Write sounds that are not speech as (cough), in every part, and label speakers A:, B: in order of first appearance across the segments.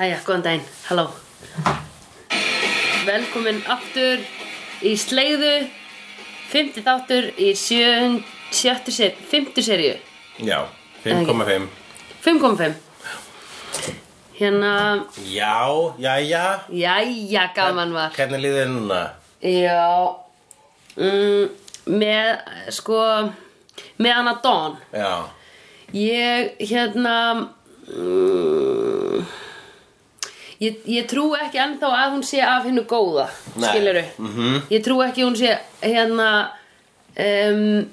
A: Æja, góðan daginn, halló Velkomin aftur í slegðu Fymti þáttur í sjön, sjöttu seríu Fymtu seríu,
B: Já, 5,5
A: 5.5 Hérna,
B: Já, jæja
A: jæja, gaman var
B: Hvernig líður þér núna?
A: Já mm, Með, sko Með hana Dawn
B: Já,
A: Ég, hérna mm, ég, ég trú ekki ennþá að hún sé af hennu góða
B: Nei.
A: Skilurðu -hmm. Ég trú ekki að hún sé hérna um,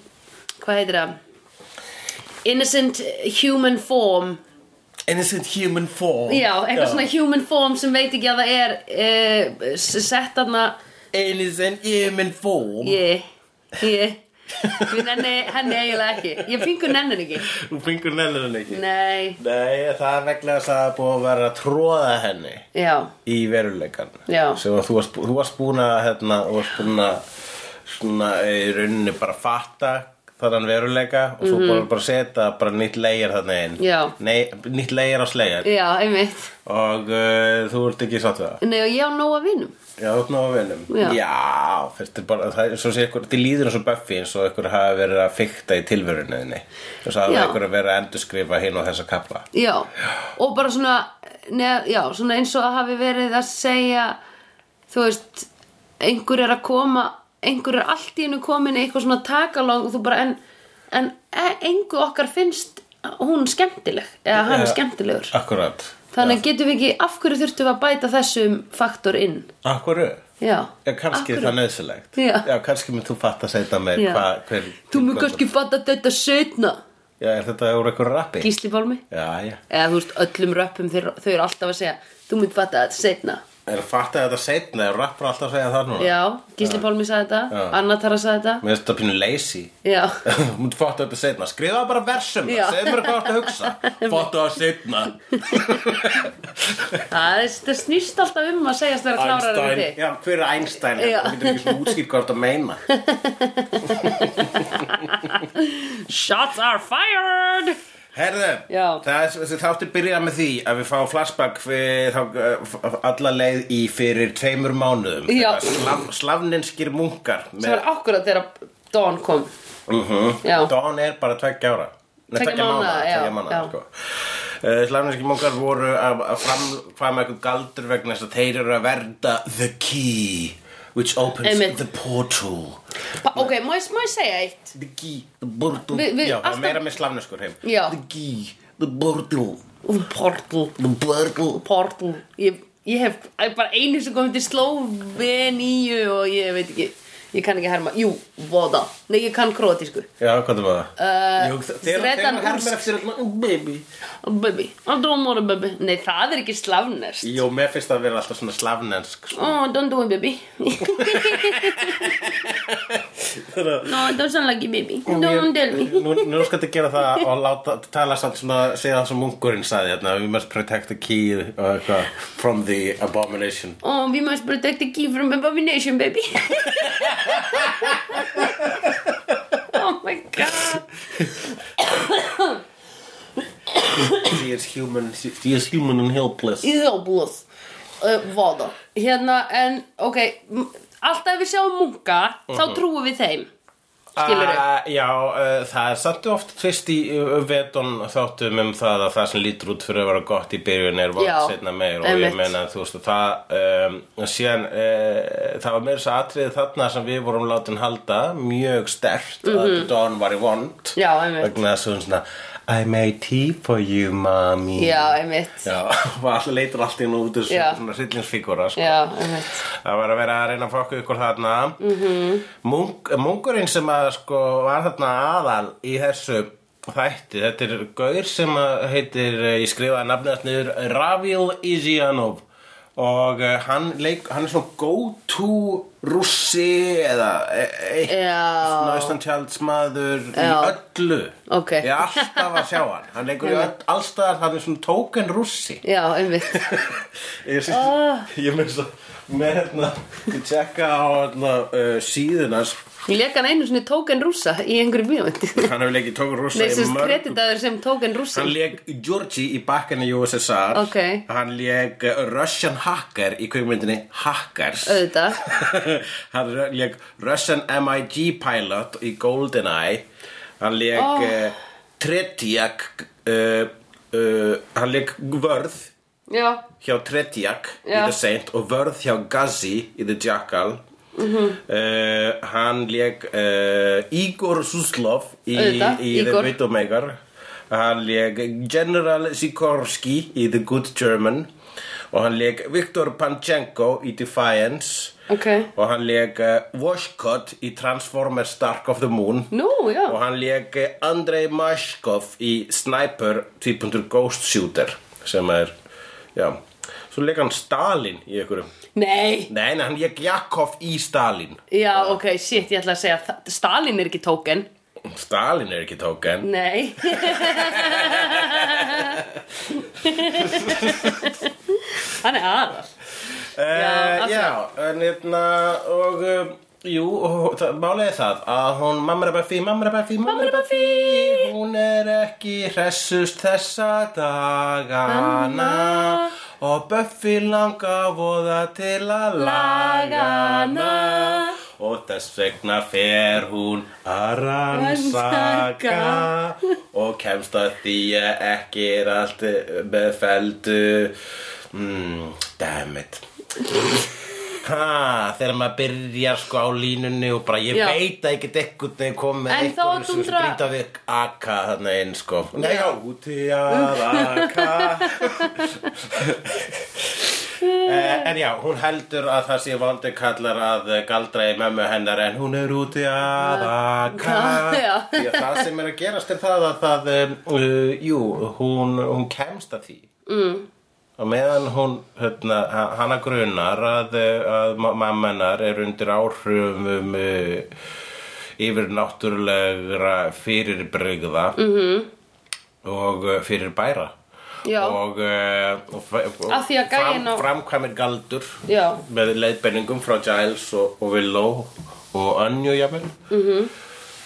A: Hvað heitir það? Innocent human form
B: innocent human form
A: Já, eitthvað svona human form sem veit ekki að það er uh, Sett þarna
B: Innocent human form
A: Ég, ég Við nenni henni eiginlega ekki Ég fingur nennin ekki
B: Þú fengur nefnir hann ekki
A: Nei,
B: Nei, það er vegna þess að það er búið að vera að tróða henni
A: já
B: í veruleikan
A: Já.
B: Svo þú varst, þú varst búin að hérna, þú varst búin að svona eh, í rauninni bara fatta þannan veruleika og svo mm -hmm. bara setja bara nýtt leigjar þannig inn
A: Mhm. Já.
B: Nei, nýtt leigjar á sleigjar
A: Já, einmitt
B: og uh, þú ert ekki sátt við það
A: Nei, og ég á nóg að vinum
B: Já, þú ert ná að vinum
A: Já.
B: Já, þetta er bara, það er svo sé ykkur, þetta líður eins og Buffy eins og ykkur hafa verið að fykta í tilverunniðinni og svo hafa
A: Já.
B: ykkur að vera að endurskrifa hinn og þessa kapla
A: Já, og bara svona, neð, já, svona eins og að hafi verið að segja, þú veist, einhver er að koma, einhver er allt í hennu komin í eitthvað svona takalong og þú bara, en, en e- engu okkar finnst hún skemmtileg, eða hann
B: Já.
A: skemmtilegur.
B: Akkurat
A: Þannig getum við ekki, af hverju þurftum við að bæta þessum faktor inn?
B: Akkurru
A: Já,
B: Já,
A: Af
B: kannski er
A: hverju?
B: það nöðsilegt
A: Já.
B: kannski mynd þú fatta að segja með
A: Já.
B: hvað, hver
A: Þú mun kannski fatta þetta setna,
B: Já, er þetta úr ykkur rappi?
A: Gísli Pálmi.
B: Já, já
A: Eða þú veist, öllum röppum þau, þau eru alltaf að segja, þú mun fatta þetta setna.
B: Er að fatta þetta seinna, er rappar alltaf að segja það núna?
A: Já, Gísli Pálmi sagði þetta,
B: Já.
A: Anna Tara sagði þetta.
B: Mér finnst þetta pínu lazy (laughs)
A: Já,
B: Þú mútt fatta þetta setna, skrifa bara versum
A: Já.
B: Segðu mér hvað þetta hugsa
A: (laughs)
B: Fatta það setna
A: það er- það snýst alltaf um að segjast vera klárar en
B: Einstein,
A: þig.
B: já, hver er Einstein?
A: Já.
B: Þú getur ekki svona útskýrt hvað þetta
A: (laughs)
B: meina
A: Shots are fired!
B: Herðu,
A: Já.
B: það er- þessi þáttur byrja með því að við fáum flashback við, þá, uh, alla leið í fyrir tveimur mánuðum
A: Já.
B: Þegar Slav, Slavninskir munkar
A: Sem var akkurat þegar Dawn kom.
B: uh
A: Já.
B: -huh. Don er bara tveggja ára Nei,
A: Tveggja
B: tveggja
A: mánaða,
B: mánaða,
A: já,
B: tveggja
A: já.
B: mánaða sko. uh, Slavninskir munkar voru að að framkvæma eitthvað galdur vegna þess að þeir eru að verða the key which opens
A: Einmitt.
B: the portal
A: Pa, ok, má ég, má ég segja eitt?
B: The key, the portal
A: Við- við-
B: Já, það
A: alltaf-
B: er meira með slavneskur heim
A: Já.
B: The key, the portal,
A: Portal,
B: the portal
A: portal. Ég, ég hef ég er bara einu sem komið til Sloveníu og ég veit ekki, ég kann ekki herma. Jú, voda. Nei, ég kann króatísku.
B: Já, hvað það var
A: Uh,
B: það? Jú, þegar
A: þretan
B: þegar hermir
A: úr-
B: eftir öll oh, Baby
A: Baby, I don't want a baby. Nei, það er ekki slavnest.
B: Jú, mér finnst það að vera alltaf svona slavnensk sko.
A: Oh, don't do it, baby. no, it doesn't like it, baby. Don't tell me.
B: Nú, nú skal þið gera það og láta, tala samt svona, segja það sem munkurinn sagði hérna, we must protect the key og eitthvað, from the abomination.
A: Oh, we must protect the key from abomination, baby. (laughs) oh my god.
B: She is human, she, she is human and helpless.
A: Íðalblóð. Uh, Vada. Hérna, en, ok, m- alltaf ef við sjáum munka, þá trúum við þeim. Skilurðu?
B: Ah, já, uh, það er sattu oft tvist í uh, vetun þáttum um það að það sem lítur út fyrir að vera gott í byrjun
A: Já,
B: er vant setna meir og
A: einmitt.
B: ég meina þú veist það um, síðan uh, það var meira þess atriði þarna sem við vorum látin halda mjög stert að Don var í vond
A: Mhm. Já, einmitt.
B: vegna þess að hún svona I made tea for you mommy
A: Já, einmitt.
B: Já, (laughs) og alltaf leitur allt í nú út þessu
A: Já.
B: svona hryllingsfígúra sko.
A: Já, einmitt.
B: Það var að vera að reyna að fokka ykkur þarna -hmm.
A: Mhm.
B: Munk, Munkurinn sem að sko var þarna aðal í þessu þætti Þetta er gaur sem að heitir, eh, ég skrifaði nafnið niður Ravil Izianov Og eh, hann, leik, hann er svona go-to russi eða e- e-
A: Já.
B: svona austantjaldsmaður í
A: Já.
B: öllu
A: Ok.
B: Ég er alltaf að sjá hann, hann
A: (laughs)
B: leikur í öll, allstaðar, hann er svona tóken russi
A: Já, einmitt. Ah.
B: ég, syns, ég með þess að með hérna, ég tjekka á hérna, uh, síðunars
A: Ég leka hann einu svona tóken rúsa í einhverju bíómyndi
B: hann hefur leikið tókur rosa
A: Nei,
B: í
A: sem
B: mörg
A: kreditaður sem tóken rúsa
B: hann leik Georgi í bakkanni USSR
A: Ok.
B: hann leik uh, Russian Hacker í kvikmyndinni Hackers
A: Auðvitað
B: (laughs) hann leik Russian MIG Pilot í GoldenEye hann leik
A: Oh.
B: oh. uh, Tretiak uh, uh, hann leik Vörð
A: Já,
B: hjá Tretiak í
A: Já.
B: The Saint og Vörð hjá Gazi í The Jackal Mm
A: Mhm.
B: hann leik uh, Igor Suslov í,
A: Auðvitað,
B: í The
A: Igor.
B: Widowmaker hann leik General Sikorski í The Good German og hann leik Viktor Panchenko í Defiance
A: ok
B: og hann leik uh, Washcott í Transformers Dark of the Moon
A: Nú, já
B: og hann leik uh, Andrei Mashkov í Sniper 2.0 Ghost Shooter sem er, já svo leik hann Stalin í einhverjum
A: Nei
B: nei, nei, hann leik Jakov í Stalin
A: Já, ok, shit, ég ætla að segja það- Stalin er ekki tóken
B: Stalin er ekki tóken
A: (laughs) Nei Hann er aðal
B: Eh,
A: Já,
B: já, en hérna og um, jú, og það- málið er það að hún mamma er bara fí, mamma er bara fí, mamma er bara fí hún er ekki hressust þessa dagana og Buffy langa voða til að lagana og þess vegna fer hún að rannsaka og kemst að því að ekki er allt með feldu mm, damn it ha, þegar maður byrjar sko á línunni og bara ég
A: Já.
B: veit að ég get ekkert þegar komið með
A: En þá
B: einhverju sem
A: dundra-
B: brýta við akka þarna einn sko nei, já, úti að akka Eh, En já, hún heldur að það sé vondi kallar að eh, galdra í mömmu hennar en hún er úti að aka
A: Já.
B: Því að það sem er að gerast er það að það, uh, jú, hún, hún kemst að því mm. Og meðan hún, hérna, ha- hana grunar að, eh, að ma- mamma hennar er undir áhrifum um, uh, yfir náttúrulegra fyrirbrygða -hmm. og eh, fyrir bæra
A: Já.
B: og, uh, og, fa- og
A: Af því að gæinn á-
B: framkvæmir galdur
A: Já.
B: með leiðbenningum frá Giles og, og Willow og Anju jafnvel mm
A: Mhm.
B: -hmm.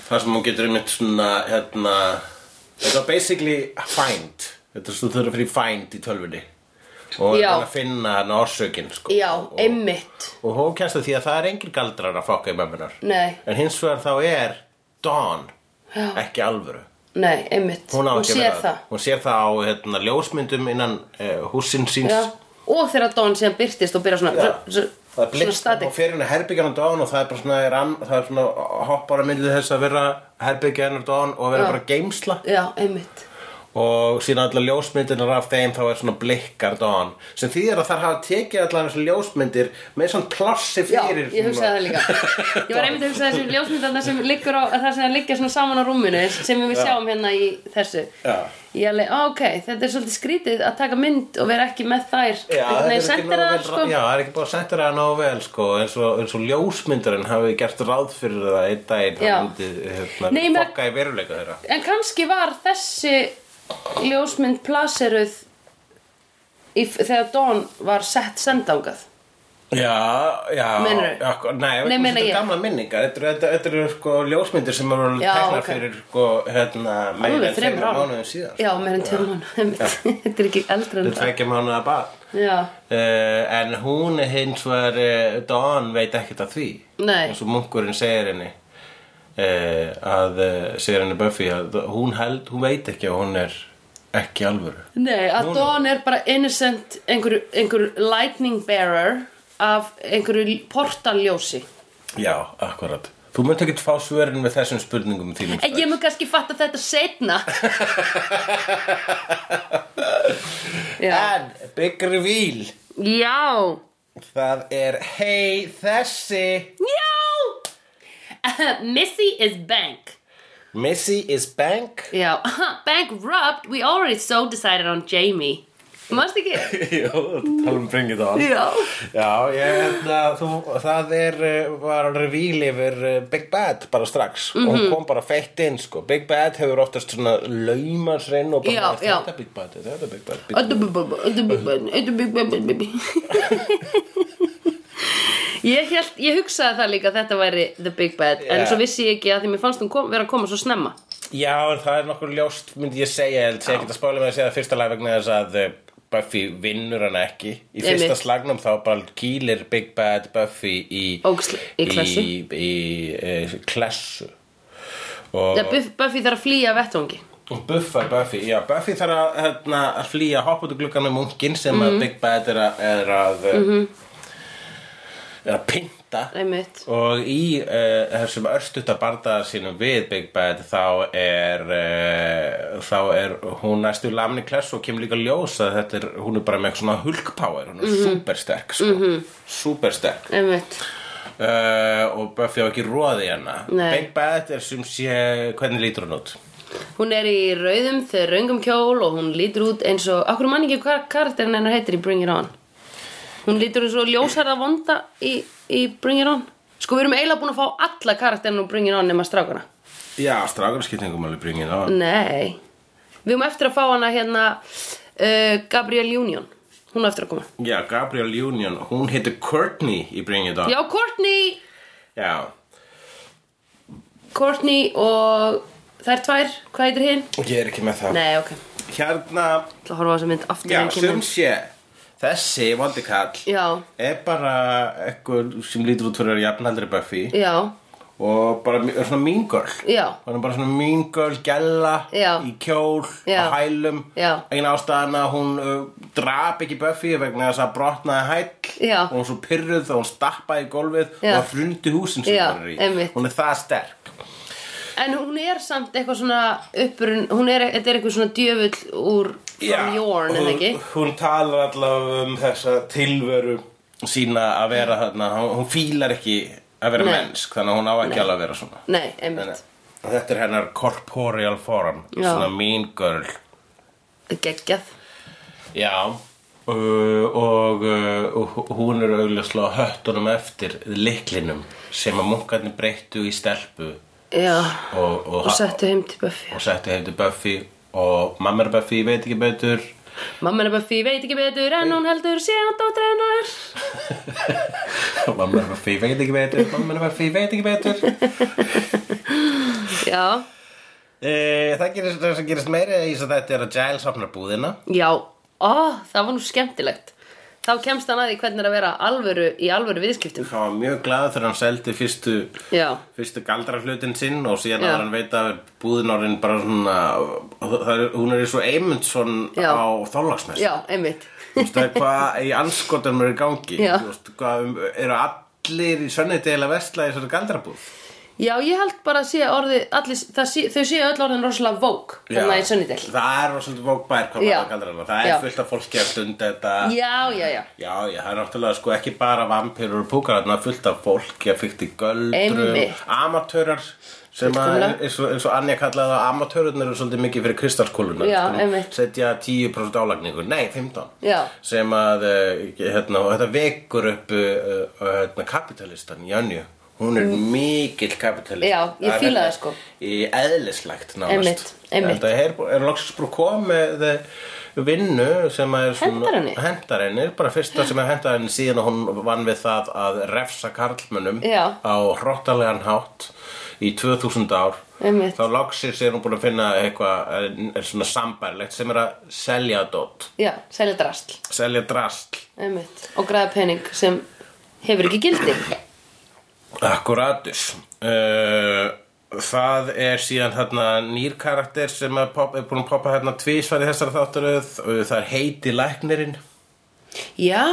B: þar sem hún getur einmitt svona hérna, þetta er basically find þetta er svo þurfa fyrir find í tölvunni og
A: Já.
B: hann að finna hann orsökin sko.
A: Já,
B: og,
A: einmitt
B: og hún kæstu því að það er engir galdrar að fokka í mömmunar
A: Nei,
B: en hins vegar þá er Dawn
A: Já.
B: ekki alvöru
A: nei, einmitt
B: hún, á ekki að
A: sér
B: vera-
A: það
B: hún sér það á hérna, ljósmyndum innan uh, húsins síns
A: Já. Og þegar Don síðan byrtist og byrja svona
B: Já.
A: svo-
B: það er
A: Svona
B: blitz og
A: statik
B: fer henni herbyggjan á dán og það er bara svona, er an, það er svona hoppar að myndið þess að vera herbyggjan á dán og vera
A: Já.
B: bara geimsla
A: Já, einmitt
B: og síðan allar ljósmyndirnar af þeim þá er svona blikkar dán sem þýðir að þar hafa tekið allar þessar ljósmyndir með svona plassi
A: Já,
B: fyrir
A: ég hugsaði það líka Ég var einmitt að hugsa þessi ljósmyndarna sem liggur á það sem liggja svona saman á rúminu sem við sjáum hérna í þessu
B: Já.
A: Ég alveg, á, ok, þetta er svolítið skrítið að taka mynd og vera ekki með þær
B: Já, þetta
A: Nei,
B: er ekki
A: sendir
B: nógu
A: það
B: vel-
A: sko
B: Já, það er ekki búið að sendir það nógu vel sko, eins, og, eins og ljósmyndarinn hafi gert ráð fyrir það einn daginn
A: Já.
B: hann myndi hérna,
A: Nei, ég meina-
B: fokka í veruleika þeirra
A: En kannski var þessi ljósmynd plaseruð í, þegar Don var sett sendangað
B: Já, já
A: Meinarðu?
B: akkur, Nei,
A: Nei, meina
B: þetta er
A: ég.
B: gamla minningar Þetta eru- þetta- þetta eru sko ljósmyndir sem eru
A: Já,
B: teknar
A: ok.
B: fyrir sko, hérna, meira en
A: þremur
B: tveimur
A: árum.
B: mánuðum síðan sko.
A: Já, meira en tveim mánu (laughs) Þetta er ekki eldra en
B: Þetta er
A: það
B: ekki mánuða bara
A: Já,
B: uh, En hún er hins vegar uh, Dawn veit ekkert af því
A: Nei.
B: Eins og munkurinn segir henni uh, að uh, segir henni Buffy að hún held, hún veit ekki að hún er ekki alvöru
A: nei, að Don er bara innocent einhver, einhver lightning bearer af einhverju portaljósi
B: Já, akkurat Þú munt ekki fá svörin með þessum spurningum þínum
A: En ég mun kannski fatta þetta setna Já,
B: En, Big Reveal
A: já.
B: Það er hei þessi
A: Já (laughs) Missy is bank
B: Missy is bank
A: (laughs) Já, bank robbed We already so decided on Jamie Mást ekki?
B: (laughs) Jó, tala um bringið það
A: Já
B: Já, ég held að þú, það er uh, var revíl yfir uh, Big Bad bara strax og
A: Mhm.
B: hún kom bara feitt inn sko. Big Bad hefur oftast svona laumasrein og bara
A: Já,
B: "Er
A: já.
B: þetta Big Bad, er þetta Big Bad Big Bad?"
A: Ödubububub, ödububub, ödububub, ödububub. Ég, held, ég hugsaði það líka að þetta væri The Big Bad En
B: Já.
A: svo vissi ég ekki að því mér fannst hún kom, vera að koma svo snemma
B: Já, en það er nokkur ljóst, myndi ég segja, ég held segja ekki að spála með að segja það fyrsta lag vegna þess að uh, Buffy vinnur hann ekki. Í
A: Einmitt.
B: fyrsta slagnum þá bara kýlir Big Bad Buffy í,
A: Ógsl- í klessu.
B: í, í, í eh, klessu. Og,
A: Þegar Buff- Buffy þarf að flýja af vettvangi
B: og buffar Buffy, já, Buffy þarf að, hérna, að flýja hoppa út úr gluggan með munkin sem að Big Bad er að, er að, mm er að pynta.
A: Einmitt
B: Og í uh, þessum örstutta bardaðar sínum við Big Bad þá er, uh, þá er hún næstu lamni klessu og kemur líka ljós að þetta er, hún er bara með eitthvað svona hulkpower, hún er mm supersterk sko, mm -hmm. supersterk
A: Einmitt
B: uh, og Buffy á ekki roði hérna.
A: Nei.
B: Big Bad er sem sé, hvernig lítur hún út?
A: Hún er í rauðum þegar raungum kjól og hún lítur út eins og Akkur mann ekki hvað karakterin hennar heitir í Bring It On Hún lítur eins og ljósherða vonda í, í Bring It On Sko við erum eiginlega búin að fá alla karakterin og Bring It On nema strákana
B: Já, strákarskiptingum alveg bringið á.
A: Nei Við erum eftir að fá hana hérna uh, Gabrielle Union Hún er eftir að koma
B: Já, Gabrielle Union, hún heitir Courtney í bringið á.
A: Já, Courtney
B: Já.
A: Courtney og þær tvær, hvað heitir hinn?
B: Og ég er ekki með það.
A: Nei, ok,
B: Hérna,
A: ætla að horfa á þessa mynd aftur
B: Já,
A: þegar hún
B: sem
A: kemur.
B: sé Þessi vondi kall
A: Já,
B: Er bara eitthvað sem lítur út fyrir að vera jafnaldri Buffy
A: já,
B: Og bara mi- er svona mean girl
A: já,
B: Hún er bara svona mean girl, gælla
A: Já.
B: Í kjól,
A: Já.
B: á hælum
A: Já.
B: Einn ástæðan að hún uh, drap ekki Buffy Vegna þess að brotnaði hæll
A: Já.
B: Og hún var svo pyrruð og hún stappaði í gólfið
A: Já.
B: Og frundi húsin sem
A: Já,
B: hún er í
A: einmitt.
B: Hún er það sterk
A: en hún er samt eitthvað svona uppurinn, hún er, þetta er eitthvað svona djöfull úr From Yorn, en
B: hún,
A: ekki?
B: hún talar allavega um þessa tilveru sína að vera þarna hún, hún fílar ekki að vera
A: Nei.
B: mennsk þannig að hún á ekki alveg að vera svona
A: Nei, einmitt,
B: Þannig að þetta er hennar corporeal form
A: Já.
B: svona mean girl
A: geggjað,
B: já Uh, og uh, hún er auðvitað höttunum eftir liklinum sem að munkarnir breyttu í stelpu
A: já,
B: og, og,
A: og settu heim til Buffy.
B: og settu heim til Buffy og mamma er Buffy, ég veit ekki betur (laughs)
A: Mamma er Buffy, veit ekki betur, en hún heldur síðan dóttir hennar.
B: Mamma er Buffy, ég veit ekki betur Mamma er Buffy, ég veit ekki betur
A: Já,
B: e, Það gerist, það sem gerist meira í þess að þetta er að Giles opnar búðina
A: já, ó, það var nú skemmtilegt. Þá kemst hann að því hvernig er að vera alvöru í alvöru viðskiptum.
B: Hann var mjög glaður þegar hann seldi fyrstu
A: Já,
B: fyrstu galdraflutin sinn og síðan
A: Já.
B: að hann veit að búðin orðin bara svona það er, hún er eins og Eymundsson
A: Já.
B: á þólagsmess
A: já, einmitt.
B: hvað í anskotum er í gangi
A: Já.
B: Þú veist, hvað, eru allir í sönnidegilega vestla í þessari galdrabúð
A: Já, ég held bara að sé orðið, allir, það sé, þau séu öll orðin rosalega vók, þannig að í sönnidel.
B: Það er rosalega vókbær hvað
A: Já.
B: maður kallar hana. Það er
A: Já.
B: fullt af fólki að stunda þetta
A: Já, já, já.
B: Já, já, það er náttúrulega sko ekki bara vampýrur og púkar, þarna er fullt af fólki að fyllt í göldrum,
A: Einmitt.
B: amatörar sem að,
A: Fullkomlega.
B: eins og, eins og Anja kallaði það, amatörurnar eru svolítið mikið fyrir kristalskúluna
A: Já, einmitt.
B: setja 10% álagningu, nei, 15
A: Já.
B: sem að, eh, hérna, og þetta vekur upp uh, uh, hérna, kapitalistan, Jönju hún er mikill kapitalist
A: Mm. Já, ég
B: er
A: fíla
B: hérna
A: það, sko.
B: í eðlislegt
A: Einmitt,
B: nánast
A: einmitt.
B: þetta er, er loksins brú komið eh, vinnu sem að er svona-
A: Hentar henni?
B: Hentar henni, bara fyrsta sem er hentar henni síðan að hún vann við það að refsa karlmönnum
A: Já.
B: á hróttalegan hátt í 2000 ár
A: Einmitt.
B: þá loksins er hún búin að finna eitthvað eh, svona sambærlegt sem er að selja dót,
A: Já, selja drastl,
B: selja drastl
A: einmitt. Og græða pening sem hefur ekki gildi.
B: Akkuratus uh, Það er síðan þarna nýr karakter sem að pop, er búin að poppa hérna tvísvar í þessari þáttaröð og það er heiti læknirinn
A: Já,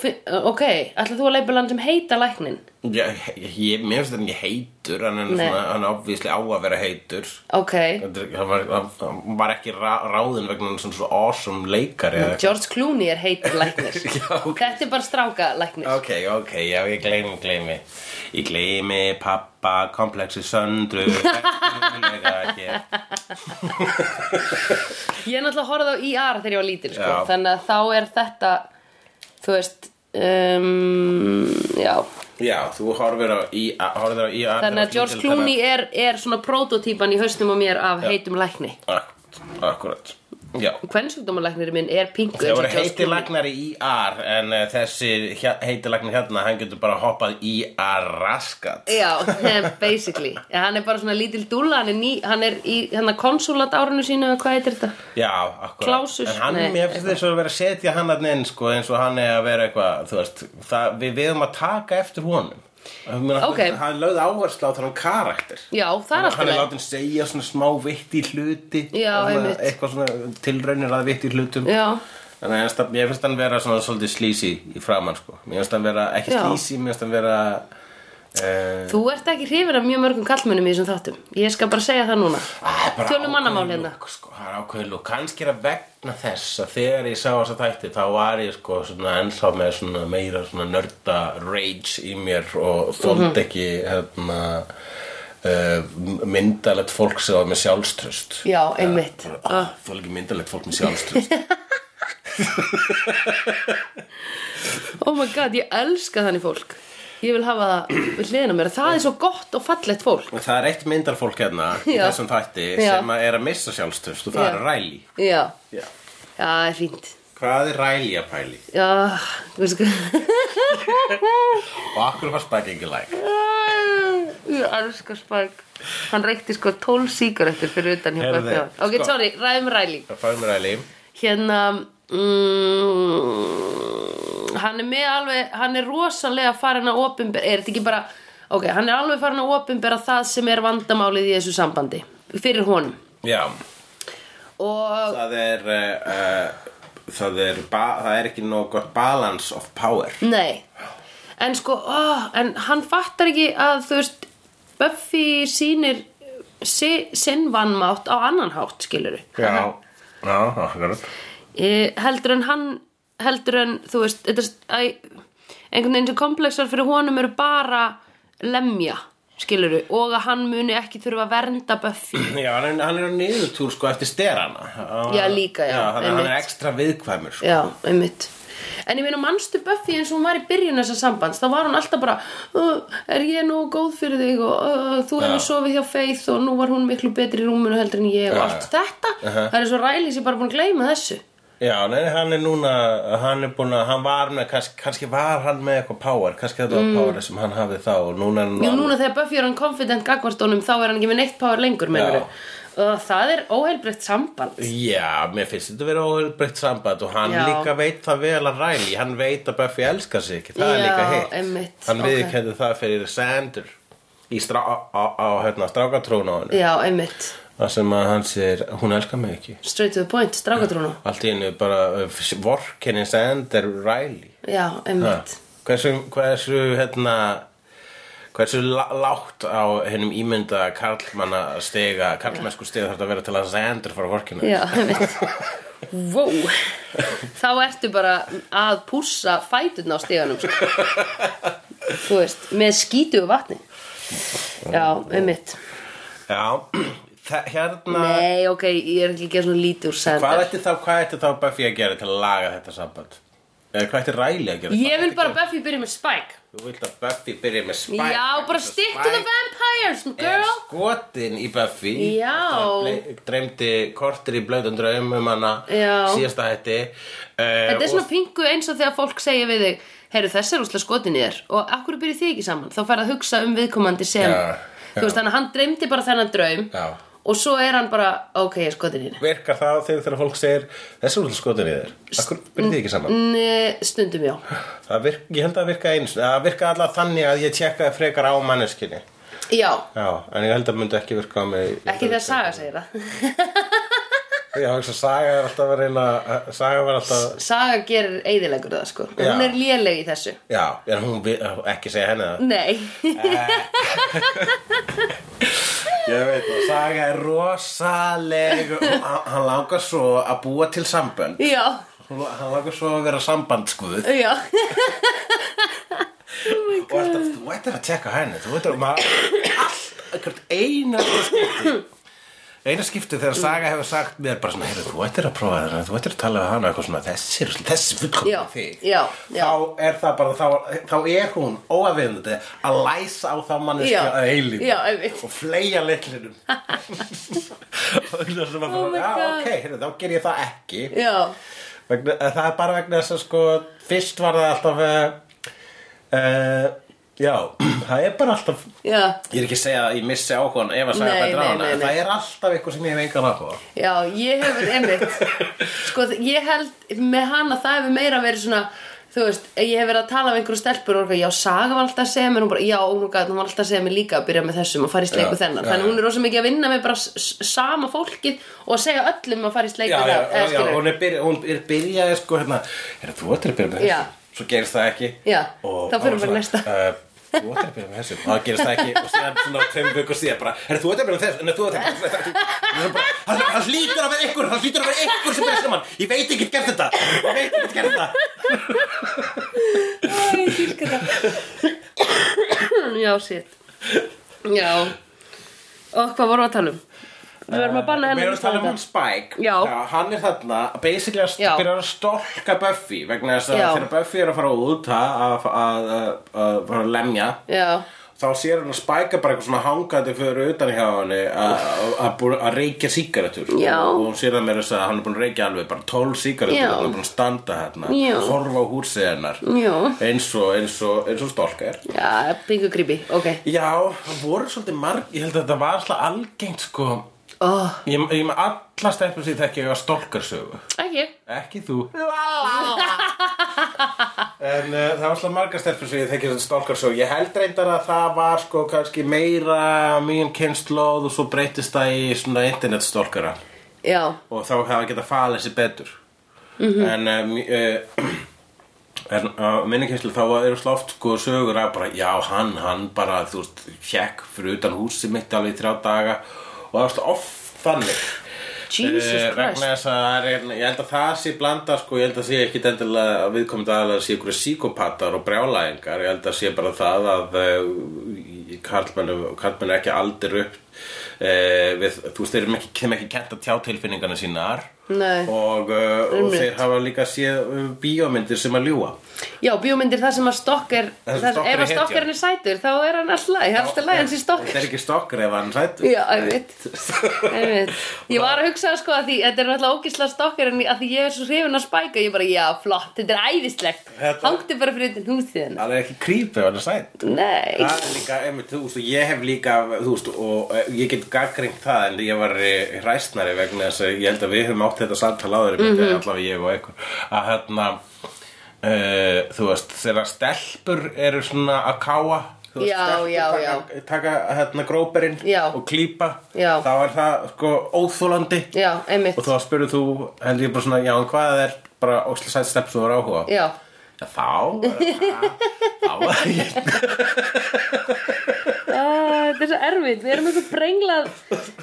A: fi- ok, ætlaðu þú að leipa land sem heita læknin?
B: Já, ég, ég, mér finnst þetta ekki heitur hann er
A: Nei.
B: svona, hann er ofvísli á að vera heitur
A: Ok,
B: Þetta er- hann var, hann- hann var ekki rá, ráðin vegna hann svona svo awesome leikari eða
A: George Clooney er heitir
B: (laughs)
A: læknir.
B: Já, ok.
A: Þetta er bara stráka læknir.
B: Ok, ok, já, ég gleymi, gleymi Ég gleymi pappa, komplexi
A: (laughs)
B: söndru reglulega hér.
A: Ég er náttúrulega horfði á IR þegar ég var lítil, sko.
B: Já.
A: Þannig að þá er þetta, þú veist, um, já,
B: Já, þú horfir á í, horfir á í
A: Þannig að George Clooney er, er svona prototýpan í hausnum á mér af heitum lækni
B: Akkurat Já.
A: Kvensjúkdómalæknir minn er pingu
B: Þeir voru heitilagnar í IR en uh, þessi hjá- heitilagnar hérna, hann getur bara hoppað í IR raskat. (laughs)
A: Já, (laughs) basically Já, Hann er bara svona lítil dúlla Hann er, ný, hann er í hann er konsulat árinu sínu eða Hvað heitir þetta?
B: Já, akkurat.
A: Klásus,
B: En hann,
A: nei,
B: mér finnst þess að vera að setja hann að inn, sko, eins og hann er að vera eitthvað, þú veist, það, við viðum að taka eftir honum. Mena,
A: Ok.
B: Hann lögði áherslu á þannig karakter.
A: Já, það er
B: Hann er
A: alltaf
B: látið segja svona smá vitt í hluti.
A: Já,
B: og svona,
A: einmitt.
B: eitthvað svona tilraunir að vitt í hlutum.
A: Já,
B: Þannig að hann- mér finnst hann vera svona svolítið slísi í framann, sko. Mér finnst hann vera, ekki
A: Já.
B: slísi, mér finnst hann vera... Uh,
A: þú ert ekki hrifur af mjög mörgum kallmönnum í þessum þáttum Ég skal bara segja það núna Tölum mannamál hérna
B: lúk, sko, það er ákveðið lúk kannski er að vegna þess að þegar ég sá þess að þætti þá var ég sko svona ennþá með svona meira svona nörda rage í mér og þóld
A: Mhm.
B: ekki hérna uh, myndalegt fólk sem var með sjálfströst
A: Já, einmitt
B: Ah, þóld ekki myndalegt fólk með
A: (laughs)
B: sjálfströst
A: Oh my god, ég elska þannig fólk Ég vil hafa það við hliðina á mér Það er svo gott og fallegt fólk
B: það er eitt myndalfólk hérna í
A: Já.
B: þessum þætti
A: Já.
B: sem að er að missa sjálfströst og það
A: Já.
B: er Riley
A: Já,
B: Já.
A: já, það er fínt
B: hvað er Riley að pæli?
A: Já, þú veist hvað
B: og akkur var spæk ekki læk
A: (laughs) Ég elska Spike Hann reykti sko 12 sígarettur fyrir utan hjá
B: Heyrðu,
A: Buffy á Ok,
B: sko-
A: sorry, ræðum ræli
B: það fæði mér Riley
A: Hérna mm, Hann er með alveg Hann er rosalega farin að opinber Er þetta ekki bara Ok, hann er alveg farin að opinbera það sem er vandamálið í þessu sambandi Fyrir honum
B: Já
A: Og
B: það er uh, það er ba það er ekki nóg gott balance of power
A: Nei En sko, ó, en hann fattar ekki að þú veist Buffy sýnir si, sinn vannmátt á annan hátt, skilurðu
B: já, já, akkurat
A: e, heldur en hann heldur en, þú veist þetta, æ, einhvern veginn sem komplexar fyrir honum eru bara lemja, skilurðu og að hann muni ekki þurfa að vernda Buffy
B: já, hann er, hann er á niðurtúr sko eftir sterana Hann-
A: Já, líka, já,
B: hann, hann er
A: einmitt.
B: ekstra viðkvæmur sko.
A: Já, einmitt En ég meina, manstu Buffy eins og hún var í byrjun þessa sambands þá var hún alltaf bara "Ugh, er ég nú góð fyrir þig og "Ugh, þú hefur
B: Já.
A: sofið hjá Faith og nú var hún miklu betri í rúminu heldur en ég og
B: Já.
A: allt þetta það er svo rælis ég bara búin að gleyma þessu
B: já nei, hann er núna hann er búin að, hann var með kannski, kannski var hann með eitthvað power kannski þetta var power sem hann hafið þá og núna er hann
A: Mm. Jú, núna þegar Buffy er hann confident gagvartónum þá er hann ekki með neitt power lengur með Það er óheilbreytt samband
B: Já, mér finnst þetta verið óbreytt samband og hann
A: Já.
B: líka veit það vel að ræli hann veit að Buffy elskar sig ekki það er
A: Já,
B: líka hitt
A: einmitt,
B: hann
A: ok.
B: okay. viðkendur það fyrir Sander í strá, á, á, á hérna, strákatrún á hennu
A: Já, einmitt
B: það sem að hann sér, hún elskar mig ekki
A: Straight to the point, strákatrúna
B: allt í hennu bara uh, vorkinni Sander ræli
A: Já, einmitt
B: Ah. hversu, hversu hérna hversu lá- lágt á hennum ímynda karlmanna stiga karlmennsku stiga þarf þetta að vera til að Sander fara vorkinni
A: Já, einmitt Vó Þá ertu bara að pússa fætuna á stíganum sko. Þú veist, með skítu og vatni Já, einmitt
B: Já, (clears throat) þa- hérna
A: Nei, ok, ég er ekki að gera svona lítið úr
B: Hvað
A: sender
B: ætti þá, hvað ætti þá Buffy að gera til að laga þetta samband? Eða hvað ætti Riley að gera?
A: Ég
B: Hvað
A: vil
B: ætti
A: bara
B: að gera?
A: Buffy byrja með Spike
B: Þú vilt að Buffy byrja með Spike
A: Já, bara stick to the vampires,
B: Er
A: girl
B: skotin í Buffy
A: Já.
B: Það ble- Dreymdi kortir í blöðum draum um hana
A: Já.
B: Síðasta hætti Eh,
A: Þetta er svona pingu eins og þegar fólk segja við þig Heyru, þessi er úslega skotin í þér Og akkur byrja þið ekki saman Þá færðu að hugsa um viðkomandi sem
B: Já,
A: Þú veist, þannig að hann dreymdi bara þennan draum
B: Já.
A: Og svo er hann bara, ok, ég er skotin hérna. í þér
B: Virkar það þegar þegar fólk segir Þessi úrlega skotin í þér Akkur byrja þið ekki saman
A: N- Stundum já
B: Það virk, Ég held að það virka eins Það virka allavega þannig að ég tjekkaði frekar á manneskinni
A: Já,
B: Já, en ég held að myndi ekki virka á mig
A: ekki þegar Saga segir það
B: Já, hugsa, Saga er alltaf að reyna Saga var alltaf
A: Saga gerir eiðilegur það sko En
B: Já.
A: Hún er léleg í þessu
B: Já, en hún vil ekki segja henni það
A: Nei,
B: Ég veit það Saga er rosaleg og hann- hann langar svo að búa til sambönd
A: (laughs) já,
B: Hún- Hann langar svo að vera sambandsguð
A: já (laughs)
B: og alltaf, þú ættir að tjekka henni þú ættir að (coughs) maður allt, ekkert eina skipti eina skipti
A: Mm.
B: þegar Saga hefur sagt mér bara svona, heyrðu, þú ættir að prófa þetta þú ættir að tala við hana eitthvað svona þessi, er- þessi
A: Já,
B: fullkomna þig
A: já, já.
B: þá er það bara, þá, þá er hún óafiðandi að læsa á það manneski
A: Já,
B: að eilíf
A: já, einmitt. (laughs)
B: og fleia leiklinum og það sem að
A: Oh my
B: bara, já
A: God.
B: ok, heyrðu, þá ger ég það ekki
A: Já,
B: vegna, eh, það er bara vegna þess að sko fyrst var það alltaf uh, já, það er bara alltaf
A: já,
B: ég er ekki að segja að ég missi áhugan ef að segja
A: Nei,
B: betra á
A: nei,
B: hana
A: nei,
B: en
A: nei.
B: það er alltaf eitthvað sem ég hef engan áhuga á.
A: já, ég hefur einmitt Sko, ég held með hana það hefur meira verið svona Þú veist, ég hef verið að tala um einhverju stelpur og eitthvað, já, Saga var alltaf að segja mér, hún bara, já, oh my god, hún var alltaf að segja mér líka að byrja með þessum og fara í sleik
B: Já,
A: við þennan.
B: já,
A: Þannig
B: já.
A: hún er rosa mikið að vinna með bara s- s- sama fólkið og að segja öllum að fara í sleik
B: já,
A: við
B: já,
A: það.
B: já,
A: eða
B: já,
A: skilurðu.
B: hún er, byrja, hún er byrjaði sko hérna, er þú ættir að byrja með
A: Já.
B: þessu svo gerist það ekki
A: Já,
B: og
A: þá förum
B: var
A: við
B: svona,
A: næsta.
B: eh, þú ættir að byrja með þessu og það gerist það ekki og síðan svona tveim vikur síðan bara er þú ættir að byrja með þessu, en þú ættir að byrja með þessu bara, hann, hann lítur að vera einhver hann lítur að vera einhver sem byrja saman ég veit ekki gert þetta ég veit ekki gert þetta
A: Æ, ég dýrka það Já, shit Já Og hvað vorum við að tala um? Við verðum að banna henni
B: Við erum að tala um hún Spike
A: Já.
B: Hann er þarna Basically að
A: Já.
B: byrja að stolka Buffy Vegna þess að
A: Já.
B: þegar Buffy er að fara út Að, að, að, að, að, fara að lemja
A: Já,
B: Þá sér hann að Spike er bara eitthvað svona hangandi Fyrir utan hjá henni að- að bú- Að reykja sígarettur
A: Já.
B: Og hún sér það meira þess að hann er búin að reykja alveg Bara 12 sígarettur
A: Já.
B: Hann er búin að standa hérna
A: Já.
B: Horfa á húsið hennar
A: já
B: Eins og, eins og, eins og stolka er
A: Já, pingu grípi, ok
B: Já, það voru svolítið marg Ég held að þetta var alltaf algengt sko
A: oh,
B: Ég, ég með alla stelpur sér þekki ég að stólkarsögu
A: Ekki
B: Ekki þú En uh, það var alltaf margar stelpur sem ég þekki að stólkarsögu Ég held reyndar að það var sko kannski meira mjög kynnslóð og svo breytist það í svona internet stólkara
A: Já,
B: og þá hafa geta falið sér betur En um, uh, En á minni kynslu þá eru slóft sko sögur að bara, já hann, hann bara, þú veist, hjekk fyrir utan húsi mitt alveg í þrjá daga og það var alltaf oft þannig
A: Jesus
B: Eh,
A: Christ
B: vegna þess að það er, ég held að það sé blanda sko, ég held að sé ekki endilega að viðkomandi aðalega sé ykkur psíkopatar og brjálæðingar ég held að sé bara það að eh, karlmennu, karlmennu ekki aldir upp eh, við, þú veist, þeir eru ekki, þeim ekki kent að tjá tilfinningarna sínar
A: Nei.
B: og, eh, og
A: Einmitt.
B: þeir hafa líka séð eh, bíómyndir sem að ljúga
A: Já, bíómyndir það sem að stokkar
B: Það sem
A: Ef
B: Stokker
A: að
B: er hetjan.
A: stokkarinn er sætur, þá er hann alltaf Það er alltaf læg hans í stokkar
B: þetta er ekki stokkar ef hann sættur
A: Já, einmitt, einmitt Ég var að hugsa sko að því, þetta er náttúrulega ógislega stokkar en að því ég er svo hrifin að spæka ég bara, já, flott, þetta er æðislegt
B: Þetta-
A: Hangdu bara fyrir utan húsið hennar
B: það er ekki creepy ef hann er sætt
A: Nei,
B: Það er líka, einmitt, þú veist, og ég hef líka, þú veist, og eh, ég get gaggringt það en ég var eh, hræsnari vegna þess að ég held að við höfum átt þetta samtala áður, mm
A: Mhm.
B: -hmm. allavega ég og einhver, að hérna, uh, þú veist, þegar stelpur eru svona að káa, þú
A: Já,
B: stelpur
A: já,
B: taka,
A: já.
B: taka hérna gróperinn
A: Já.
B: og klípa,
A: Já.
B: þá er það sko óþólandi
A: já, einmitt
B: og þá spurðu þú, held ég bara svona, já, en hvað er bara óslega sætt stelp sem þú er áhuga? á?
A: Já,
B: Já, þá, þá, þá, ég
A: (laughs) Æ, þetta er svo erfitt, við erum eins og brenglað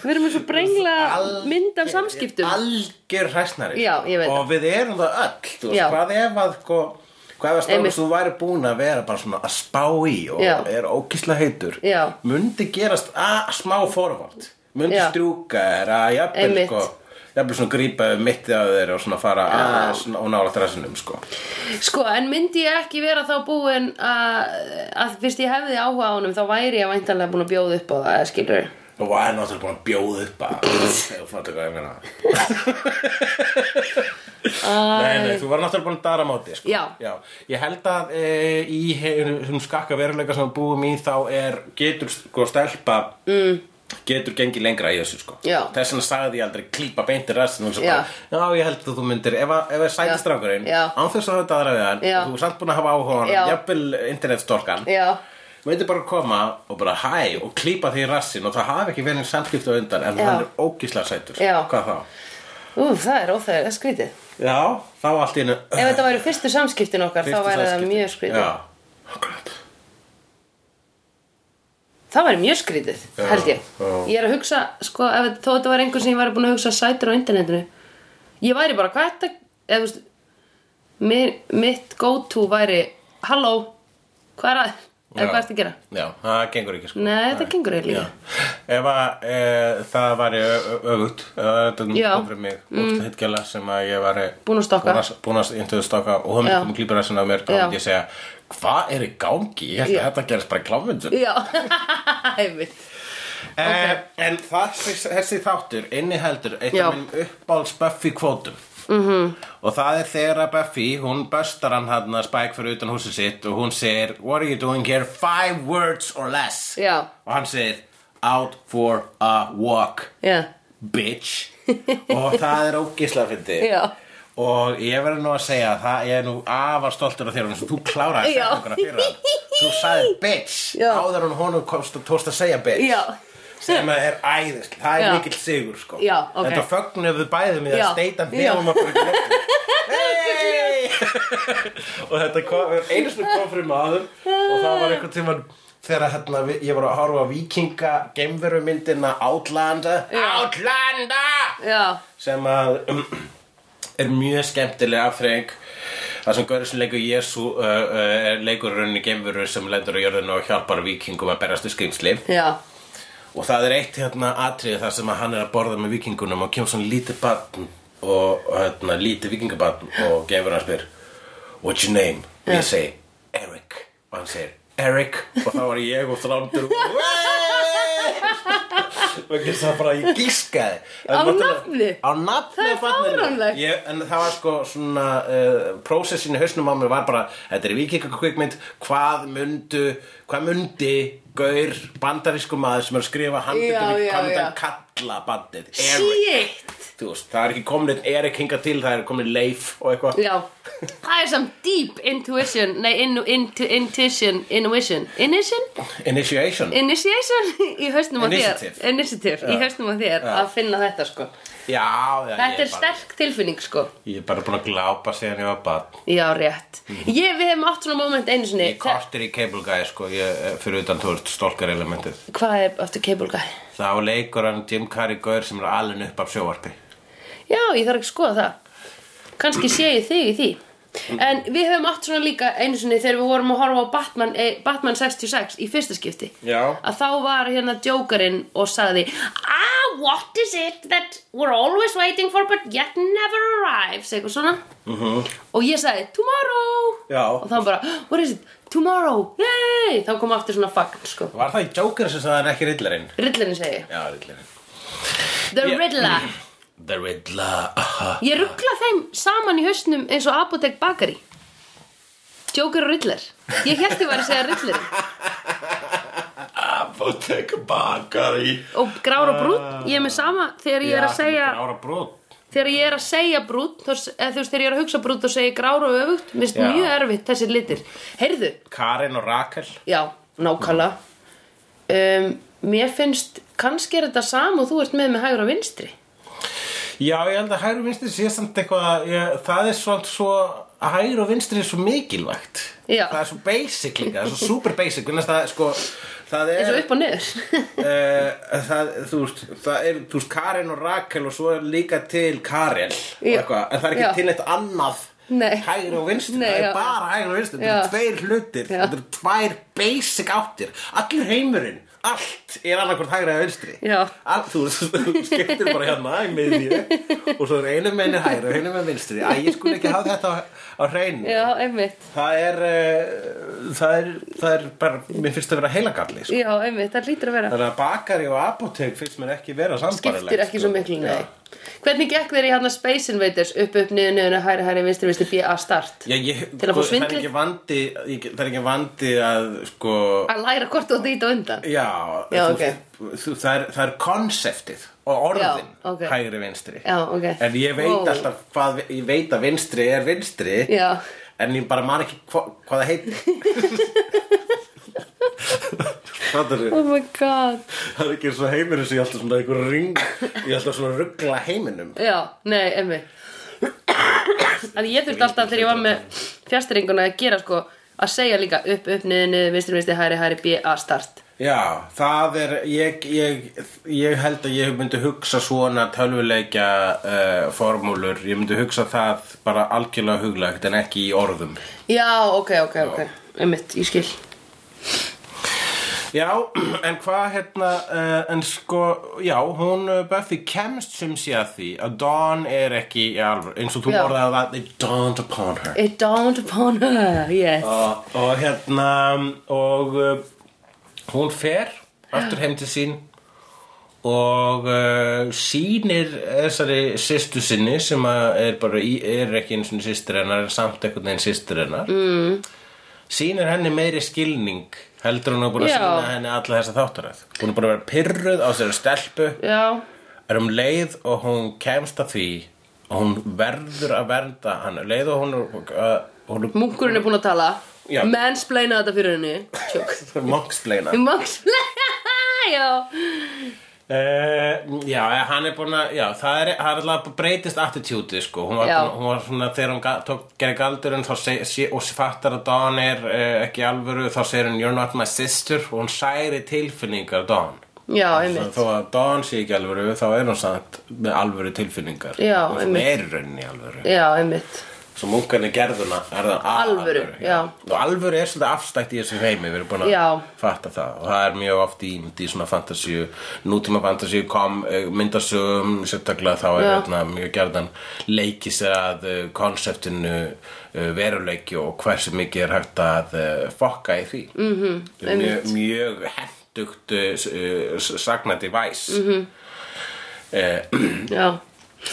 A: Við erum eins og brenglað mynd af samskiptum
B: algjör hræsnari sko.
A: Já, ég veit
B: og við erum það öll þú veist,
A: Já.
B: hvað ef að sko, hvað ef að
A: Einmitt.
B: stofnum þú væri búin að vera bara svona að spá í og
A: Já.
B: er ókísla heitur
A: Já.
B: mundi gerast að smá forvald mundi
A: Já.
B: strjúka er að jafnvel
A: Einmitt.
B: sko jafnvel svona grípa um mitti á þeir og svona fara aðeins og nála dræsinum sko
A: Sko, en myndi ég ekki vera þá búin að, að fyrst ég hefði áhuga á honum þá væri ég væntanlega búin að bjóða upp á það, eða skilur
B: og hvað er náttúrulega búin að bjóða upp að þú fattu hvað ég meina Nei, nei, þú var náttúrulega búin að dara móti sko.
A: Já.
B: Ég held að e, í þessum skakka veruleika sem við búum í þá er, getur sko stelpa mm. getur gengið lengra í þessu sko
A: Já.
B: Þess vegna sagði ég aldrei klípa beintir restin og svo
A: Já.
B: bara, já, ég held að þú myndir ef að- ef að
A: Já.
B: sætistrákurinn,
A: Já.
B: án þess að þetta aðra við hann
A: Já.
B: og þú er samt búin að hafa áhuga á hann,
A: Já.
B: jafnvel internetstorkan
A: Já,
B: myndir bara koma og bara hæ og klípa því í rassin og það hafi ekki verið samskipti á undan en
A: Já.
B: hann er ógísla sætur
A: Já.
B: hvað þá?
A: ú, það er óþægir, það er skrítið
B: Já, þá allt í einu
A: Ef þetta væri fyrstu samskiptin okkar,
B: Fyrstu
A: þá væri það
B: samskipti.
A: mjög skrítið.
B: Já, Oh, akkurat
A: Það væri mjög skrítið,
B: Já,
A: held ég.
B: já.
A: Ég er að hugsa, sko, ef þó þetta var einhver sem ég væri búin að hugsa sætur á internetinu, ég væri bara, hvað er þetta, eða, þú veist, mi- mitt go-to væri, halló, hvað er að, eða hvað er þetta að gera?
B: Já, það gengur ekki sko
A: Nei, þetta gengur eiginlega
B: Já.
A: ekki.
B: Ef að e, það væri ö- ö- öfugt ef að þetta
A: Já.
B: kom fyrir mig mm. hittgjala sem að ég væri
A: Búin að stokka.
B: búin að, búin að intöðu stokka og það
A: Já.
B: myndi komið klípur að sinna á mér þá
A: Já.
B: myndi ég segja hvað er í gangi? Ég held
A: Já.
B: að þetta gerist bara í klámyndu
A: Já, (laughs) einmitt.
B: okay. Eh, En það, þessi þáttur inniheldur eitt
A: Já. Mhm.
B: af minn uppáls Buffy kvótum -hmm. Og það er þegar að Buffy, hún böstar hann hann að Spike fyrir utan húsið sitt Og hún segir, what are you doing here? Five words or less
A: Já.
B: Og hann segir, out for a walk
A: já,
B: bitch og það er ógislega fyndi
A: Já.
B: og ég verður nú að segja að það ég er nú afar stoltur af þér eins og þú kláraði
A: Já.
B: setninguna fyrir hann þú sagði bitch
A: Já.
B: áður en honum komst og tóst að segja bitch
A: já,
B: sem að er æðislega, það er
A: Já.
B: mikill sigur sko.
A: Já, ok.
B: þetta fögnum við bæðum í það
A: Já.
B: steita
A: Já.
B: nefum að
A: (laughs)
B: bara hey! og þetta kom, einu sinni kom fyrir maður og það var einhvern tímann þegar hérna, við- ég var að horfa á vikinga geimverumyndina Outlander Outlander
A: já,
B: sem að (clears throat) um, er mjög skemmtileg afþreng það sem Gaurið sem leikur Jésu uh, uh, er leikur í rauninni geimveru sem lendur á jörðinu og hjálpar vikingum að berast í skrýmsli
A: já,
B: og það er eitt hérna atrið þar sem að hann er að borða með vikingunum og kemur svona lítið barn og og, hérna lítið vikingabarn og gefur hann spyr What's your name? Og ég segi Eric og hann segir Eric og þá var ég og þrándur og
A: (laughs)
B: vegna þess að bara ég gískaði
A: Á
B: En náttúrulega-
A: nafni?
B: á nafni
A: Það er
B: á barninu.
A: fáránlegt.
B: Ég- en það var sko svona uh, prósessin í hausnum á mér var bara þetta er vikingakvikmynd hvað mundu hvað mundi gaur bandarísku maður sem er að skrifa handið
A: Já, já,
B: hvað mundi
A: já.
B: hann kalla bandið Eric
A: shit
B: Þú veist, það er ekki komin einn Erik hinga til það er komin Leif og eitthvað
A: já, það er samt deep intuition, nei, in, intu- intuition intuition, intuition
B: Initiation
A: initiation í hausnum á þér
B: Initiative.
A: initiative, í hausnum á þér að finna þetta sko
B: Já, já
A: þetta
B: ég,
A: er
B: bara,
A: sterk tilfinning sko
B: ég er bara búin að glápa síðan ég var barn
A: já, rétt ég, við hefum átt svona moment einu sinni
B: Ég kortir Mhm. í Cable Guy sko, ég, fyrir utan þú veist stólkar elementið
A: hvað er aftur cable guy?
B: Þá leikur hann Jim Carrey gaur sem er alveg upp af sjóvarpi.
A: Já, ég þarf ekki að skoða það kannski sé ég þig í því En við höfum átt svona líka einu sinni þegar við vorum að horfa á Batman, eh, Batman 66 í fyrsta skipti
B: Já.
A: Að þá var hérna Jokerinn og sagði Ah, what is it that we're always waiting for but yet never arrives Eitthvað svona -huh. Og ég sagði, tomorrow
B: Já.
A: Og þá bara, what is it, tomorrow, yay Þá kom aftur svona fagn, sko
B: Var það í Joker sem sagði hann ekki Riddlerinn?
A: Riddlerinn segi,
B: Já, Riddlerinn.
A: the
B: Ég-
A: Riddler
B: The Riddler. aha.
A: Ég ruggla þeim saman í hausnum eins og Apotek Bakari Joker og Riddler Ég hélt ég var að segja Riddler
B: Apotek bakari.
A: Og grár og brútt, ég er með sama Þegar ég er að segja
B: Ára brot.
A: Þegar ég er að segja brútt þá s- eða þú veist, Þegar ég er að hugsa brútt og segja grár og öfugt Mér finnst
B: Já.
A: mjög erfitt þessir litir Heyrðu,
B: Karin og Rakel.
A: já, nákvæmlega um, Mér finnst Kannski er þetta sam og þú ert með með hægra og vinstri
B: Já, ég held að hægri og vinstri sé samt eitthvað, ég, það er svona svo, að hægri og vinstri er svo mikilvægt.
A: Já.
B: Það er svo basic líka, það er svo super basic, vegna þess að það, sko, það er...
A: Eins og upp og niður
B: uh, það, þú veist, það er, þú veist, Karin og Rakel og svo er líka til Karel og
A: Já.
B: eitthvað, en það er ekki
A: Já.
B: til eitt annað
A: Nei.
B: hægri og vinstri,
A: Nei,
B: það
A: já.
B: er bara hægri og vinstri,
A: Já.
B: þetta eru tveir hlutir,
A: Já.
B: þetta eru tvær basic áttir, allur heimurinn, allt er annarkvort hægri eða vinstri.
A: Já.
B: All, þú veist, (laughs) þú skiptir bara hérna í miðju og svo er einu menni hægri og einu menni vinstri, æ, ég skulle ekki hafa þetta á, á hreinu.
A: Já, einmitt
B: Það er, uh, það er, það er bara, mér finnst það vera heilagalli, sko.
A: Já, einmitt, það hlýtur að vera
B: Þannig að bakari og apotek finnst mér ekki vera sambarilegt.
A: skiptir ekki svo miklu nei.
B: Já.
A: Hvernig gekk þeir í hérna Space Invaders upp upp niður niður hæri hæri vinstri vinstri B að start
B: Já, ég,
A: Til að fá
B: sko, það er
A: svindlið?
B: ekki vandi, ég- það er ekki vandi að, sko,
A: að læra hvort þú þýtt og undan
B: já,
A: Já,
B: þú,
A: ok.
B: þú, það, er, það er konseptið og orðin
A: Já, ok.
B: hægri vinstri.
A: Já, ok.
B: En ég veit
A: Wow.
B: alltaf hvað, ég veit að vinstri er vinstri,
A: Já.
B: en ég bara man ekki hva, hvað það
A: (laughs)
B: heitir. Hvað er þetta?
A: Oh my god
B: Það er ekki eins og heimurinn sem ég er alltaf svona einhver ring, ég er alltaf svona ruggla heiminum.
A: Já, nei, emmi Að ég þurfti alltaf þegar ég var með fjastringuna að gera sko að segja líka upp upp niður niður vinstri vinstri hæri hæri B að start
B: Já, það er, ég, ég, ég held að ég myndi hugsa svona tölvuleikja uh, formúlur, ég myndi hugsa það bara algjörlega huglegt en ekki í orðum.
A: Já, ok, ok, ok Emmitt, ég skil
B: Já, (clears throat) en hvað hérna, uh, en sko, já, hún uh, Buffy kemst sem sé að því að Dawn er ekki í alveg, eins og þú
A: Já.
B: orðaði það, it dawned upon her.
A: It dawned upon her, yes
B: Og, eh, og hérna, og uh, hún fer aftur heim til sín og uh, sýnir þessari sýstu sinni sem að er bara í, er ekki eins og sýstur hennar en samt einhvern veginn sýstur hennar mm. sýnir henni meiri skilning heldur hún að búin að
A: Já.
B: sýna henni alla þessa þáttaröð hún er búin að vera pyrruð á þessari stelpu
A: Já,
B: er um leið og hún kemst að því og hún verður að vernda hann leið og hún, uh, hún
A: munkurinn er búinn að tala
B: Já.
A: Mansplaina þetta fyrir henni Tjók
B: monksleina
A: Mansplaina, já
B: Uh, já, hann er búin að já, það er, það er alltaf breytist attitúti sko. hún, var
A: Já.
B: búin- hún var svona þegar hún ga- tók, gerir galdurinn þá seg, sé, og fattar að Dawn er uh, ekki í alvöru þá segir hún you're not my sister og hún særi tilfinningar Dawn
A: Já,
B: Svo
A: einmitt
B: þó að Dawn sé ekki í alvöru þá er hún samt með alvöru tilfinningar
A: Já,
B: og hún
A: einmitt.
B: er í rauninni í alvöru
A: Já, einmitt
B: svo munkarnir gerðuna er það að
A: Alvöru, já.
B: og alvöru er svolítið afstætt í þessu heimi við erum búin að
A: Já.
B: fatta það og það er mjög oft ímynd í svona fantasíu nútíma fantasíu kom eh, myndasögum sérstaklega þá er
A: Já.
B: hérna, mjög gerðan leiki sér að eh, konseptinu eh, veruleiki og hversu mikið er hægt að eh, fokka í því mm
A: Mhm,
B: -hmm, mjög, mjög eh, hendugt sagnandi væs
A: Mhm.
B: mm -hmm.
A: Já,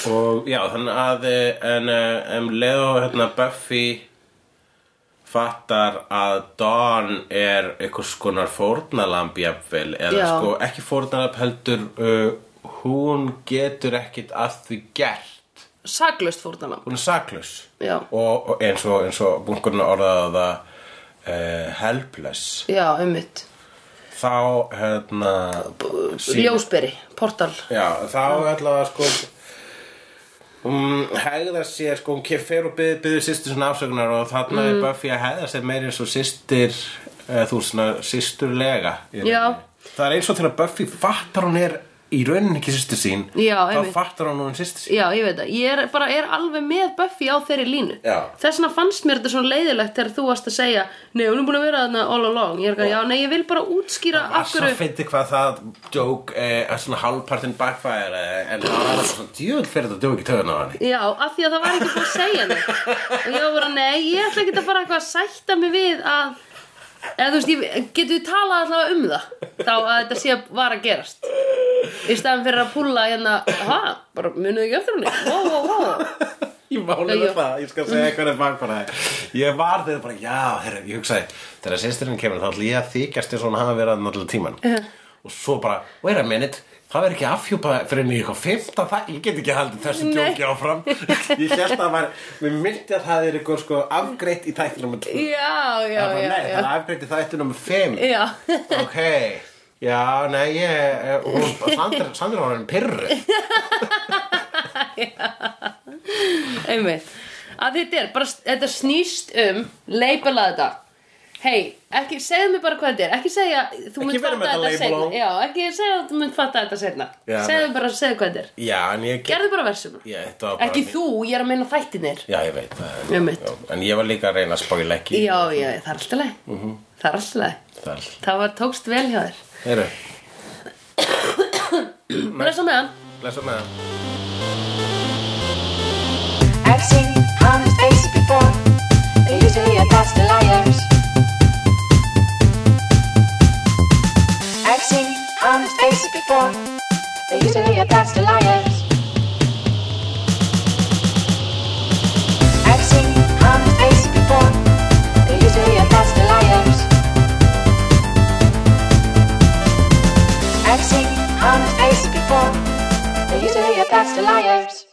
B: og já þannig að eh, en, eh, en leið og hérna Buffy fattar að Dawn er einhvers konar fórnalamb jafnvel eða
A: Já.
B: sko ekki fórnalamb heldur uh, hún getur ekkit að því gert
A: saklaust fórnana
B: hún er saklaus
A: Já.
B: og, og eins og, eins og bunkurinn orðaði það uh, helpless
A: Já, einmitt
B: þá hérna sýnir-
A: Ljósberi, portal
B: Já, þá allavega sko hún hegðar sér sko, hún kef- fer og byður, byður sýstur svona afsökunar og þarna
A: Mm.
B: er Buffy að hegða sér meira eins og sýstir eða þú svona sýsturlega í rauninni.
A: Já.
B: Það er eins og þegar Buffy fattar hún er í rauninni ekki sýstur sín
A: Já,
B: þá
A: einmitt.
B: fattar hún hún sýstur sín
A: Já, ég veit það, ég er bara er alveg með Buffy á þeirri línu
B: Já.
A: Þess vegna fannst mér þetta svona leiðilegt þegar þú varst að segja Nei, hún er búin að vera þarna all along Ég er ekki, já, nei, ég vil bara útskýra
B: Það
A: af
B: svo
A: hverju
B: fyndi hvað það djók eh, að svona halvpartin backfire eh, en það var alveg svona djúl fyrir þetta djók í töðun á hann
A: Já, af því að það var ekki búin að segja neitt Og ég var bara, nei, ég ætla ekki að fara eitthvað að sætta mig við að Eða þú veist, ég, getur við talað allavega um það Þá að þetta sé að var að gerast Í staðan fyrir að púlla hérna Ha, bara munið ekki eftir henni Vá, vá, vá
B: Ég máli
A: Já,
B: með
A: já.
B: það, ég skal segja hvernig bankbara það Ég var þegar bara, já, herri, ég hugsaði Þegar sýsturinn kemur, þá ætla ég að þykjast eins og hún hafa verið að náttúrulega tíman Og svo bara, wait a minute Það verður ekki afhjúpa fyrir mig eitthvað fymta það, ég get ekki haldið þessu
A: Nei.
B: djóki áfram (laughs) Ég held að það var, mér myndi að það er eitthvað sko afgreitt í þætti nummer 2
A: Já, já,
B: Það var,
A: já,
B: nei, það
A: já
B: er afgreitt í þætti nummer 5
A: Já,
B: Ok, já, nei, ég, eh, hún, Sandra, Sandra var hann pyrru
A: einmitt Að þetta er, bara, þetta snýst um Leipela þetta Hei, ekki, segðu mér bara hvað þetta er Ekki segja, þú
B: Ekki
A: munt
B: vera með
A: fatta þetta
B: þetta label
A: seinna
B: á.
A: Já, ekki segja, þú munt fatta þetta seinna
B: Já,
A: Segðu
B: nei.
A: bara, segðu hvað þetta er
B: Já, en ég
A: Gerðu bara versum
B: Já, þetta var bara
A: Ekki
B: mín-
A: þú, ég er að meina þættinir
B: Já, ég veit það en-
A: Einmitt.
B: já, En ég var líka að reyna að spóila ekki
A: Já, já, það er alltaf leið Það er alltaf leið
B: Það er allt.
A: Það var tókst vel hjá þér
B: Heyrðu,
A: Blessa með hann
B: blessa með það
C: I've seen honest faces before. They're usually a pass to liars. I've seen honest faces before. They're usually a pass to liars. I've seen honest faces before. They're usually a pass to liars. I've seen honest faces before. They're usually a pass to liars.